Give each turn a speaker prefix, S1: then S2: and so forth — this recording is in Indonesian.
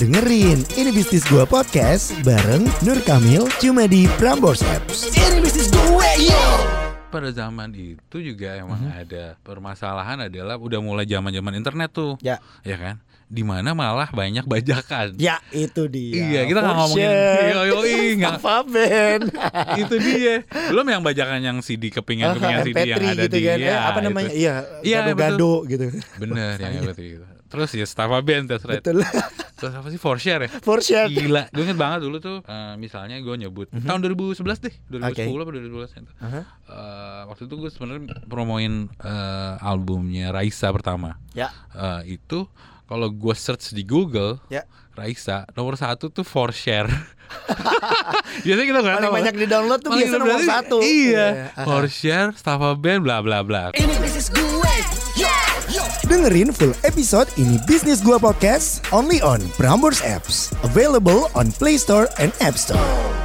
S1: Dengerin Ini Bisnis Gua Podcast bareng Nur Kamil cuma di Prambors Apps. Ini bisnis gue, yo!
S2: pada zaman itu juga emang
S1: Mhm.
S2: ada permasalahan adalah udah mulai zaman zaman internet tuh
S1: Ya.
S2: ya kan dimana malah banyak bajakan
S1: Ya, itu dia. Oh,
S2: Iya, kita nggak
S1: Porsche.
S2: ngomongin- Iya, iya, iya, nggak-
S1: Apa, Ben?
S2: itu dia belum yang bajakan yang CD kepingan kepingan CD yang
S1: MP3
S2: ada
S1: gitu
S2: di
S1: kan.
S2: ya,
S1: Eh, apa
S2: itu.
S1: namanya? Iya,
S2: Iya,
S1: gado-gado gitu.
S2: bener yang seperti itu terus ya Stava Band that's right.
S1: Betul.
S2: terus apa sih for share ya
S1: Porsche.
S2: Gila, gue inget banget dulu tuh eh, Misalnya gue nyebut
S1: Mhm.
S2: Tahun 2011 deh 2010 apa 2012 itu
S1: Aha.
S2: Eh, Waktu itu gue sebenarnya promoin eh, Albumnya Raisa pertama
S1: Ya.
S2: Eh, Itu kalau gue search di Google
S1: Ya.
S2: Raisa Nomor satu tuh for share Biasanya kita nggak
S1: Paling
S2: tahu
S1: banyak di download tuh
S2: Paling
S1: biasanya nomor
S2: berarti-
S1: satu.
S2: Iya
S1: Aha.
S2: For share, Staffa Band, bla bla bla
S3: Ini bisnis gue. Yo, yo.
S1: Dengerin full episode ini Bisnis Gua Podcast only on Prambors Apps. Available on Play Store and App Store.